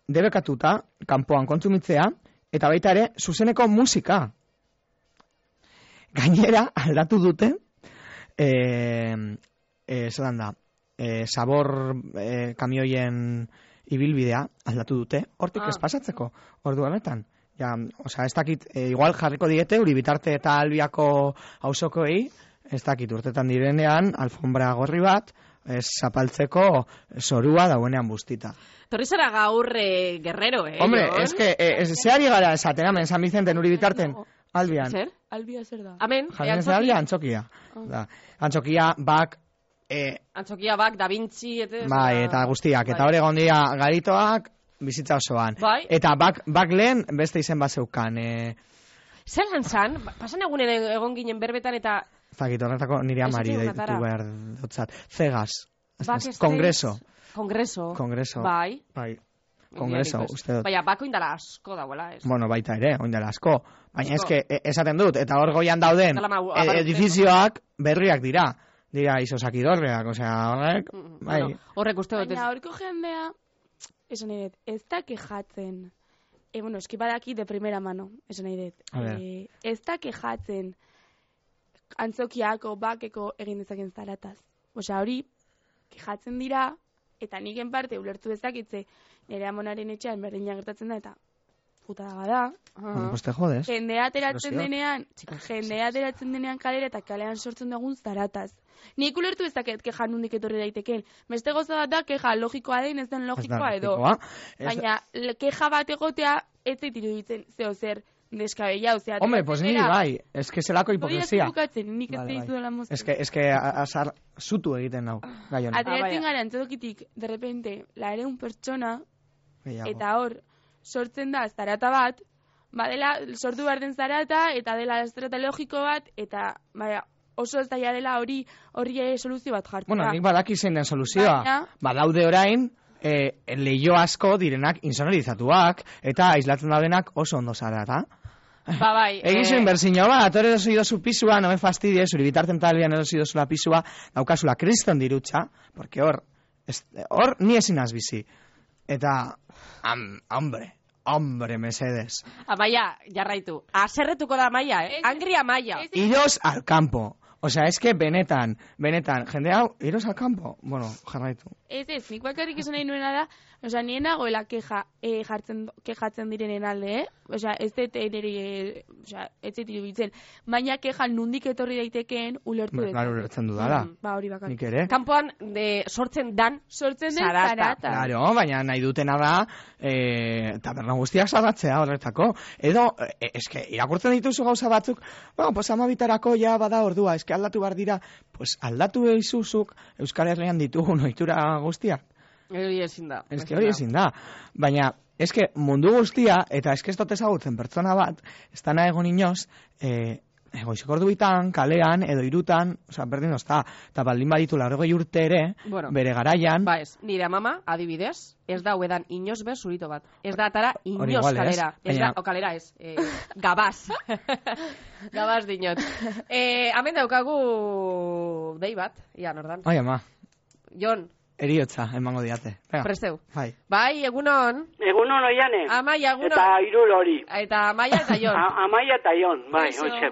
[SPEAKER 3] debekatuta, kanpoan kontsumitzea, eta baita ere, zuzeneko musika. Gainera, aldatu dute, eh, eh, zelan da, eh, sabor eh, kamioien ibilbidea aldatu dute, hortik
[SPEAKER 1] Ah.
[SPEAKER 3] ez pasatzeko, ordu honetan. Ja, osea, ez dakit, eh, igual jarriko diete, uri bitarte eta albiako hausokoei, ez dakit, urtetan direnean, alfombra gorri bat, eh, zapaltzeko zorua dauenean bustita.
[SPEAKER 1] Torri zara gaur eh, guerrero, eh?
[SPEAKER 3] Hombre,
[SPEAKER 1] Jon?
[SPEAKER 3] ez que, eh, ez- ze ari gara esaten, amen, San Vicenten uri bitarten, albian.
[SPEAKER 1] Zer? Ah.
[SPEAKER 2] Albia zer da?
[SPEAKER 1] Amen, eh,
[SPEAKER 3] Jarri ez da,
[SPEAKER 1] antzoki-
[SPEAKER 3] antzokia. Da. Antzokia, bak, eh,
[SPEAKER 1] antzokia bak, da Vinci, eta...
[SPEAKER 3] Bai, eta guztiak. Eta
[SPEAKER 1] Bai.
[SPEAKER 3] hori gondia garitoak bizitza osoan.
[SPEAKER 1] Bai.
[SPEAKER 3] Eta bak, bak lehen beste izen bat zeukan. E,
[SPEAKER 1] Zelan zan, Ba- pasan egunen egon ginen berbetan eta...
[SPEAKER 3] zakit, horretako nire
[SPEAKER 1] Ez
[SPEAKER 3] amari
[SPEAKER 1] zitzaigun
[SPEAKER 3] deitu
[SPEAKER 1] atara.
[SPEAKER 3] behar dutzat. Zegas. Ez
[SPEAKER 1] Back
[SPEAKER 3] ez,
[SPEAKER 1] stage-
[SPEAKER 3] Kongreso.
[SPEAKER 1] Kongreso.
[SPEAKER 3] Kongreso.
[SPEAKER 1] Bai.
[SPEAKER 3] Bai. Kongreso,
[SPEAKER 1] Biarriko ez. Bai.
[SPEAKER 3] uste dut. Bai.
[SPEAKER 1] Baina, bako indala asko dauela, ez?
[SPEAKER 3] Bueno, baita ere, oindela asko. Baina
[SPEAKER 1] Asko.
[SPEAKER 3] eske, e- esaten dut, eta hor goian dauden
[SPEAKER 1] Dala mau-
[SPEAKER 3] e,
[SPEAKER 1] aparte,
[SPEAKER 3] edifizioak berriak dira. Dira izosakidorreak, osea, horrek,
[SPEAKER 1] Mm,
[SPEAKER 3] bai.
[SPEAKER 1] bueno, horrek uste dut ez.
[SPEAKER 2] Baina horko jendea, esan nahi dut, ez da kejatzen. E, bueno, eski badaki de primera mano, esan nahi dut.
[SPEAKER 3] A ber.
[SPEAKER 2] Eh, ez da kejatzen antzokiako, bakeko egin dezaken zarataz. Osea, hori, kejatzen dira, eta nik parte ulertu dezakitze, nire amonaren etxean berdina gertatzen da, eta puta da bada.
[SPEAKER 3] Bueno, pues te jodes.
[SPEAKER 2] Jendea ateratzen
[SPEAKER 3] Erosioa. Ah,
[SPEAKER 2] denean, jendea ateratzen denean kalera eta kalean sortzen dugun zarataz. Nik ulertu ez dakit keja nondik etorri daitekeen. Beste goza bat da keja logikoa den ez den
[SPEAKER 3] Ez da
[SPEAKER 2] logikoa edo.
[SPEAKER 3] logikoa. Ez-
[SPEAKER 2] Baina le- keja bat egotea ez zait iruditzen zeo zer deskabellao. Zera,
[SPEAKER 3] Hombre, pues niri bai, ez que zelako hipokresia.
[SPEAKER 2] bukatzen, nik ez
[SPEAKER 3] Vale,
[SPEAKER 2] vale,
[SPEAKER 3] bai.
[SPEAKER 2] dituela moztu.
[SPEAKER 3] Ez que, ez que a- azar zutu egiten nau, gai honen.
[SPEAKER 1] Ah, vaya.
[SPEAKER 2] Ateratzen gara antzokitik, de repente, laere un pertsona,
[SPEAKER 3] Gehiago.
[SPEAKER 2] Eta hor, sortzen da zarata bat, badela sortu behar den zarata, eta dela zarata logiko bat, eta baya, oso ez dela hori horri soluzio bat jartzea.
[SPEAKER 3] Bueno, nik badaki zein den soluzioa.
[SPEAKER 2] Baina-
[SPEAKER 3] Badaude orain, e, leio asko direnak insonorizatuak, eta aislatzen daudenak oso ondo zara, eta?
[SPEAKER 2] Ba, bai.
[SPEAKER 3] Egin
[SPEAKER 1] eh,
[SPEAKER 3] zuen berzino bat, hori erosi dozu pisua, no me fastidie, zuri bitarten talian erosi dozula pisua, daukazula kriston dirutza, porque hor, ez- hor ni ezin az bizi. Eta, am, hombre, hombre, mesedes.
[SPEAKER 1] Amaia, jarraitu. Aserretuko da Amaia, eh?
[SPEAKER 2] Ez-
[SPEAKER 1] Angri Amaia.
[SPEAKER 2] ez-
[SPEAKER 3] Iros al campo. Osea, eske benetan, benetan, jende hau, iros al campo. Bueno, jarraitu.
[SPEAKER 2] Ez ez, nik bakarrik esan nahi nuena da, oza, nien nagoela keja, eh, jartzen, kejatzen direnen alde, eh? Oza, ez dut nire, eh, oza, ez dut iruditzen. Baina keja nundik etorri daitekeen ulertu
[SPEAKER 3] Ba,
[SPEAKER 2] dut.
[SPEAKER 3] Claro, ulertzen dudala.
[SPEAKER 2] Mm, Ba, hori bakarrik.
[SPEAKER 3] Nik ere.
[SPEAKER 1] Kanpoan de, sortzen dan
[SPEAKER 2] Sortzen den
[SPEAKER 1] Zarata.
[SPEAKER 2] zarata.
[SPEAKER 3] Claro, baina nahi dutena da, e, taberna guztiak salatzea horretako. Edo, e, eske, irakurtzen dituzu gauza batzuk, bueno, pues amabitarako ja bada ordua, eske aldatu behar dira, pues aldatu eizuzuk Euskal Herrian ditugun ohitura guztiak.
[SPEAKER 1] Hori ezin da.
[SPEAKER 3] Eske hori ezin da. Baina, eske mundu guztia, eta eske ez dut ezagutzen pertsona bat, ez dana egon inoz, e, egoizek ordu bitan, kalean, edo irutan, oza, berdin ozta, eta baldin baditu larrogei urte ere,
[SPEAKER 1] Bueno.
[SPEAKER 3] bere garaian,
[SPEAKER 1] Ba ez, nire mama, adibidez, ez da uedan inoz bez zurito bat. Ez da atara
[SPEAKER 3] Hori
[SPEAKER 1] inoz
[SPEAKER 3] igual ez,
[SPEAKER 1] kalera. Ez,
[SPEAKER 3] baina-
[SPEAKER 1] da, o kalera ez, eh, gabaz. gabaz dinot. Eh, hemen daukagu dei bat, ia nordan.
[SPEAKER 3] Ai, ama,
[SPEAKER 1] Jon,
[SPEAKER 3] eriotza, emango diate. Venga.
[SPEAKER 1] presteu.
[SPEAKER 3] Bai.
[SPEAKER 1] Bai, egunon,
[SPEAKER 4] Egun hon oiane.
[SPEAKER 1] amaia,
[SPEAKER 4] Eta
[SPEAKER 1] egunon.
[SPEAKER 4] irul hori.
[SPEAKER 1] Eta amaia eta Jon.
[SPEAKER 4] A- Amaia eta ion, bai,
[SPEAKER 1] Kaixo.
[SPEAKER 4] hoxe.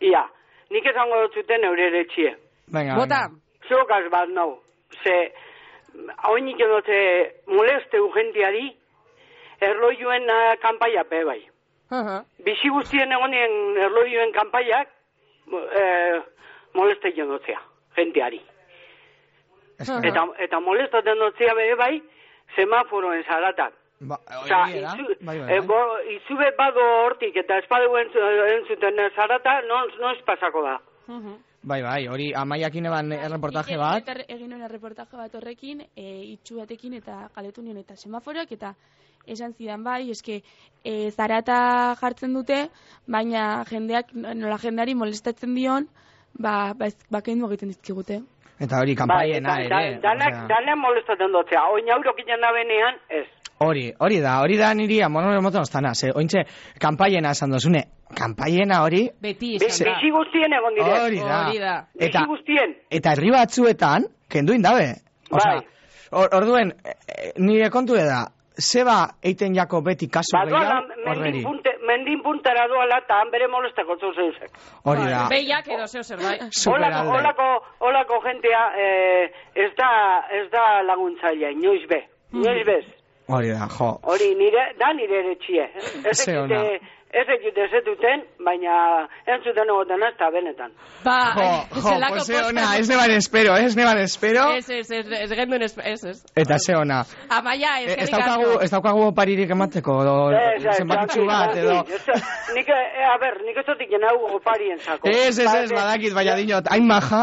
[SPEAKER 4] Ia, nik esango dutzuten eure ere txie.
[SPEAKER 3] Venga,
[SPEAKER 1] Bota,
[SPEAKER 3] venga.
[SPEAKER 4] Zogaz bat nau. Ze, oinik edote moleste ugentiari, erloiuen ah, kanpaia pe bai.
[SPEAKER 1] Aha.
[SPEAKER 4] Bizi guztien egonien erloiuen kanpaiak, mo- eh, moleste jodotzea, jendeari.
[SPEAKER 3] Eske,
[SPEAKER 1] Aha.
[SPEAKER 4] Eta, eta molestaten dotzea bere bai, semaforoen zaratak.
[SPEAKER 3] ba,
[SPEAKER 4] Osa,
[SPEAKER 3] hori da,
[SPEAKER 4] izu,
[SPEAKER 3] bai, bai,
[SPEAKER 4] eh,
[SPEAKER 3] bai.
[SPEAKER 4] bo- izube bado hortik eta espadeu entzu- entzuten zarata, non, noiz pasako da.
[SPEAKER 1] Mhm.
[SPEAKER 3] Bai, bai, hori amaiakin eban Bai,
[SPEAKER 1] Bai.
[SPEAKER 3] erreportaje
[SPEAKER 2] Nik
[SPEAKER 3] bat.
[SPEAKER 2] egin- Bai, Egin nuen erreportaje bat horrekin, e, itxu batekin eta galetu nion eta semaforoak eta esan zidan bai, eske e, zarata jartzen dute, baina jendeak, nola jendeari molestatzen dion, ba, ba, ez- ba kendu egiten dizkigute.
[SPEAKER 3] Eta hori, kanpaiena
[SPEAKER 4] Bai, da-
[SPEAKER 3] ere.
[SPEAKER 4] da- danak,
[SPEAKER 3] osea.
[SPEAKER 4] danak molestatzen dotzea, oin aurokinen da benean, ez.
[SPEAKER 3] Hori, hori da, hori da niri amonore moten oztana, ze ointxe, kanpaiena esan dozune, kanpaiena hori,
[SPEAKER 1] Beti
[SPEAKER 4] Bi-
[SPEAKER 1] izan da.
[SPEAKER 4] Bizi guztien egon dire.
[SPEAKER 3] hori da.
[SPEAKER 1] Hori da.
[SPEAKER 4] Bizi
[SPEAKER 3] Eta,
[SPEAKER 4] guztien.
[SPEAKER 3] eta herri batzuetan, kenduin dabe. Osea,
[SPEAKER 4] Bai.
[SPEAKER 3] or, orduen, eh, eh, nire kontu da, zeba eiten jako beti kasu
[SPEAKER 1] Ba,
[SPEAKER 4] Badoala,
[SPEAKER 3] gehiago,
[SPEAKER 4] mendin,
[SPEAKER 3] horreri.
[SPEAKER 4] punte, mendin puntara doala eta han bere molestako zeuzek.
[SPEAKER 3] Hori da,
[SPEAKER 1] Behiak edo zeo bai. zerbait.
[SPEAKER 4] Olako,
[SPEAKER 3] superalde.
[SPEAKER 4] olako, olako jentea eh, ez, da, ez da laguntzailea, inoiz be.
[SPEAKER 3] Mm.
[SPEAKER 4] Inoiz bez.
[SPEAKER 3] Hori da, jo.
[SPEAKER 4] Hori nire, da nire ere txie. Ez
[SPEAKER 3] Ze ona.
[SPEAKER 4] ekite, ez ekite ez duten, baina entzuten egoten ez da benetan.
[SPEAKER 1] Ba,
[SPEAKER 3] Jo, jo,
[SPEAKER 1] zelako
[SPEAKER 3] pues ze
[SPEAKER 1] posta-
[SPEAKER 3] ona, ez neban espero, eh, ez neban espero.
[SPEAKER 1] Ez, ez, ez, ez genduen, ez, ez, ez.
[SPEAKER 3] Eta ze ona.
[SPEAKER 1] Amaia,
[SPEAKER 3] E,
[SPEAKER 1] ez,
[SPEAKER 3] Ez daukagu, ez daukagu oparirik emateko,
[SPEAKER 4] Eh,
[SPEAKER 1] Eh,
[SPEAKER 3] edo zenbakitzu bat, edo...
[SPEAKER 4] Nik, e, a ber, nik ez dut iken hau oparien zako.
[SPEAKER 3] Ez, ez, ez,
[SPEAKER 4] Bai,
[SPEAKER 3] badakit, baina dinot, hain maja.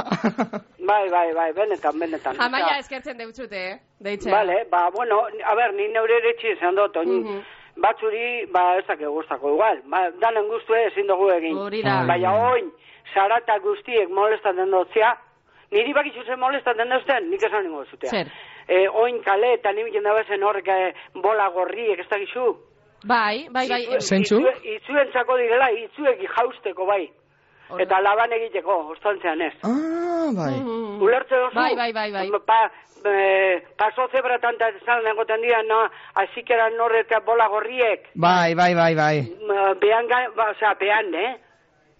[SPEAKER 4] Bai, bai, bai, benetan, benetan.
[SPEAKER 1] Amaia,
[SPEAKER 4] Osea,
[SPEAKER 1] eskertzen deutzut, eh? Deitzen.
[SPEAKER 4] Vale, ba, bueno, a ber, ni neure ere txie izan dut, oin,
[SPEAKER 1] Mhm.
[SPEAKER 4] batzuri, ba, ez dake gustako igual. Ba, danen gustu ezin dugu egin.
[SPEAKER 1] Hori da.
[SPEAKER 3] Bai.
[SPEAKER 4] Baina oin, zarata guztiek molestatzen dutzea, niri bakizu zen molestatzen duzten, nik esan ningo zutea.
[SPEAKER 1] Zer?
[SPEAKER 4] E, oin kale eta nibilen da bezen horrek eh, bola gorriek ez dakizu.
[SPEAKER 1] Bai, bai, bai.
[SPEAKER 4] Itzu-
[SPEAKER 1] eh,
[SPEAKER 3] Zeintzuk?
[SPEAKER 4] itzu- Itzuentzako direla, itzuek jausteko bai.
[SPEAKER 1] hor-
[SPEAKER 4] Eta laban egiteko, ostantzean ez.
[SPEAKER 3] ah, bai.
[SPEAKER 1] Mm,
[SPEAKER 4] Ulertze duzu?
[SPEAKER 1] Bai, bai, bai, bai.
[SPEAKER 4] Pa, eh, paso zebra tanta esan egoten dira, no, azikera norreta bola gorriek.
[SPEAKER 3] Bai, bai, bai, bai.
[SPEAKER 4] Mm, Behan, ga- ba, osea, behan, eh?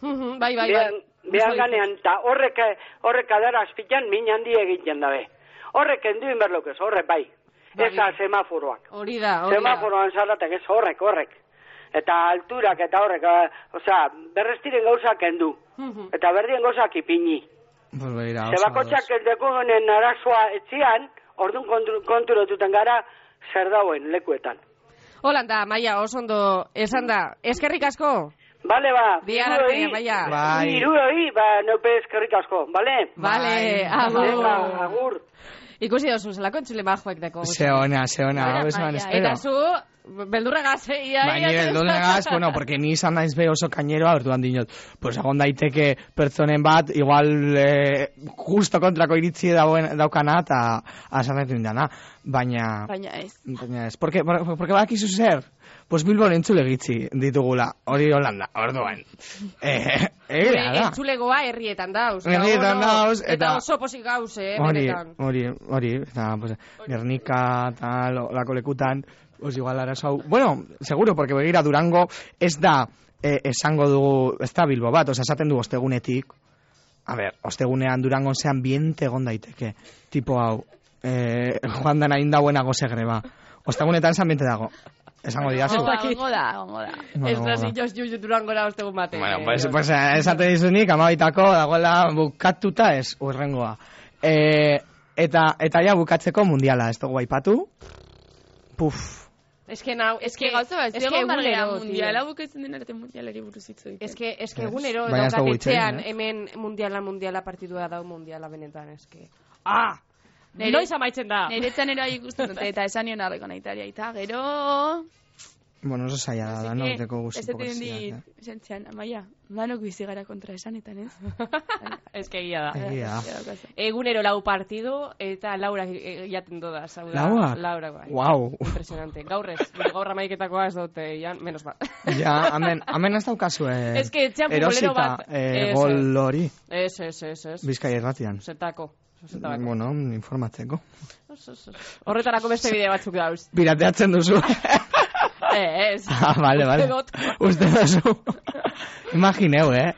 [SPEAKER 1] mhm, Bai, bai, bai.
[SPEAKER 4] Behan, behan ganean, eta horrek, horrek adara azpilan min handi egiten dabe. Horrek endu inberlokez, horrek bai.
[SPEAKER 1] Bai.
[SPEAKER 4] Ez da semaforoak.
[SPEAKER 1] Hori da, hori da.
[SPEAKER 4] Semaforoan zaratak ez horrek, horrek. Eta alturak eta horrek, eh, osea, berreztiren gauzak endu.
[SPEAKER 1] Mhm.
[SPEAKER 4] Eta berdien gauzak ipini.
[SPEAKER 3] Pues begira, oso
[SPEAKER 4] Zebakotxak
[SPEAKER 3] ados.
[SPEAKER 4] ez dekugunen arazoa etzian, orduan kontur, konturatutan gara zer dauen lekuetan.
[SPEAKER 1] Holan da, Amaia, oso ondo, esan da. Eskerrik asko.
[SPEAKER 4] Bale ba,
[SPEAKER 1] Bihar arte, Amaia.
[SPEAKER 3] Bai.
[SPEAKER 4] iru hori, ba, neupe eskerrik asko, bale?
[SPEAKER 1] Vale,
[SPEAKER 4] Venga,
[SPEAKER 1] agur.
[SPEAKER 4] agur.
[SPEAKER 1] Ikusi dozu, zelako entzule majoek deko.
[SPEAKER 3] Ze ona, ze ona, hau esan
[SPEAKER 2] Amaia,
[SPEAKER 3] espero.
[SPEAKER 1] Eta zu, Beldurregaz, eh? Ia,
[SPEAKER 3] Baina
[SPEAKER 1] ia-
[SPEAKER 3] beldurregaz, bueno, porque ni izan naiz be oso kaineroa, orduan dinot, pues egon daiteke pertsonen bat, igual eh, justo kontrako iritzi dauen, daukana, eta asanetin dana, baina...
[SPEAKER 2] Baina ez.
[SPEAKER 3] Baina ez, porque, porque badakizu zer, pues Bilbon entzule gitzi ditugula, hori Holanda, orduan. Eh,
[SPEAKER 1] Gure
[SPEAKER 3] egia da.
[SPEAKER 1] entzulegoa herrietan dauz.
[SPEAKER 3] Herrietan
[SPEAKER 1] Gaur,
[SPEAKER 3] dauz,
[SPEAKER 1] eta...
[SPEAKER 3] eta-
[SPEAKER 1] oso posik gauz, eh?
[SPEAKER 3] Hori,
[SPEAKER 1] benetan.
[SPEAKER 3] hori, hori, eta, pues, Gernika, tal, olako lekutan, pues igual arasau. Bueno, seguro, porque begira Durango ez da eh, esango dugu, ez da Bilbo bat, oza, esaten du ostegunetik, a ber, ostegunean Durangon ze ambiente egon daiteke, tipo hau, eh, joan dana indauen goze greba. Ostegunetan ze ambiente dago, esango didazu.
[SPEAKER 2] Gongo da, gongo da, gongo da.
[SPEAKER 3] Bueno,
[SPEAKER 1] Ez da,
[SPEAKER 3] bueno.
[SPEAKER 1] zinioz juju durangora ostegun batean.
[SPEAKER 3] Bueno, pues, pues eh, esate dizunik, amabitako dagoela bukatuta ez urrengoa. E, eta, eta ja bukatzeko mundiala, ez dugu aipatu. Puf,
[SPEAKER 1] Es que nau, es que
[SPEAKER 2] gauza bat,
[SPEAKER 1] es
[SPEAKER 2] ez
[SPEAKER 1] que
[SPEAKER 2] dago margera
[SPEAKER 1] egunero, tío.
[SPEAKER 2] mundiala bukatzen den arte mundialari buruz hitz egiten.
[SPEAKER 1] Es que, es que
[SPEAKER 3] Ez,
[SPEAKER 1] egunero
[SPEAKER 3] baina ez
[SPEAKER 1] daukat
[SPEAKER 3] dugu hitz egin,
[SPEAKER 1] etxean
[SPEAKER 3] eh?
[SPEAKER 1] hemen mundiala, mundiala partidua dau mundiala benetan, es que... Ah!
[SPEAKER 2] Nere-
[SPEAKER 1] Noiz amaitzen da!
[SPEAKER 2] Niretzan ero ikusten dute, eta esan nion arreko nahitaria, eta gero...
[SPEAKER 3] bueno, oso zaila da, da, no, deko
[SPEAKER 2] Ez
[SPEAKER 3] guztiko
[SPEAKER 2] dut
[SPEAKER 3] poesiak, eh.
[SPEAKER 2] Eh, dit, zentzian, amaia, manok bizi gara kontra esanetan, ez?
[SPEAKER 1] Es que egia da.
[SPEAKER 3] Egia.
[SPEAKER 2] Ez daukazu.
[SPEAKER 1] Egunero lau partidu eta Laura jaten doda. Hau da,
[SPEAKER 3] Lauak?
[SPEAKER 1] Laura, bai.
[SPEAKER 3] Wow.
[SPEAKER 1] Impresionante. Gaur ez, gaur amaiketakoa ez dute, jan, menos bat.
[SPEAKER 3] Ja, amen, amen ez daukazu eh,
[SPEAKER 1] Ez que etxean futbolero
[SPEAKER 3] erosita
[SPEAKER 1] bat.
[SPEAKER 3] eh,
[SPEAKER 1] Ez,
[SPEAKER 3] gol hori
[SPEAKER 1] Ez, ez, ez, ez.
[SPEAKER 3] Bizkaia irratian.
[SPEAKER 1] Zetako. Zetabako.
[SPEAKER 3] Bueno, informatzeko.
[SPEAKER 1] Ez, ez, ez. Horretarako beste bide batzuk dauz.
[SPEAKER 3] Pirateatzen duzu.
[SPEAKER 1] Eh, Ez.
[SPEAKER 3] ah, vale, vale.
[SPEAKER 1] Uste dut.
[SPEAKER 3] Uste duzu. Imagineu, eh?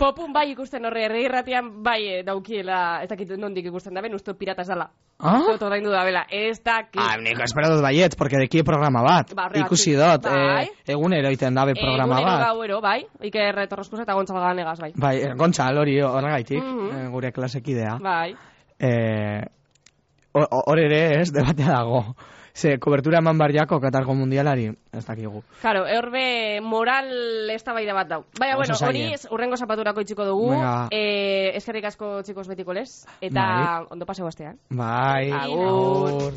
[SPEAKER 1] Popun bai ikusten horre, herri irratian bai eh, daukiela, ez dakit nondik ikusten da, ben uste dut pirata ez dala.
[SPEAKER 3] Ah?
[SPEAKER 1] Uste dut ordaindu da, bela, ez dakit.
[SPEAKER 3] Ah, nik espero dut baiet, porque deki programa bat.
[SPEAKER 1] Ba, horregatik.
[SPEAKER 3] Ikusi dut,
[SPEAKER 1] Bai.
[SPEAKER 3] eh, egunero iten dabe programa
[SPEAKER 1] Egunero
[SPEAKER 3] bat.
[SPEAKER 1] gauero, bai, Iker Torroskusa eta Gontzal Ganegaz, bai.
[SPEAKER 3] Bai, eh, gontxa, hori horregaitik,
[SPEAKER 1] Mhm.
[SPEAKER 3] eh, gure klasekidea.
[SPEAKER 1] Bai.
[SPEAKER 3] Eh, hor- hor ere, ez, debatea dago. Ze, kobertura eman barriako Katargo mundialari, ez dakigu.
[SPEAKER 1] Claro, horbe moral eztabaida bat dau. Baina,
[SPEAKER 3] Oso
[SPEAKER 1] bueno,
[SPEAKER 3] zaila.
[SPEAKER 1] hori ez, urrengo zapaturako itxiko dugu.
[SPEAKER 3] Venga.
[SPEAKER 1] Eh, eskerrik asko txikos betiko lez. Eta
[SPEAKER 3] Bai.
[SPEAKER 1] ondo paseo astean.
[SPEAKER 3] Bai.
[SPEAKER 1] Agur.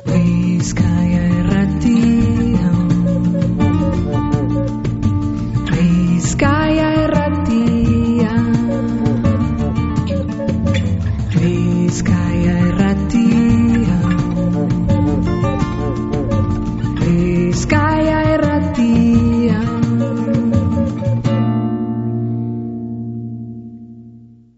[SPEAKER 5] Bizkaia erratia Bizkaia erratia Bizkaia erratia Bizkaia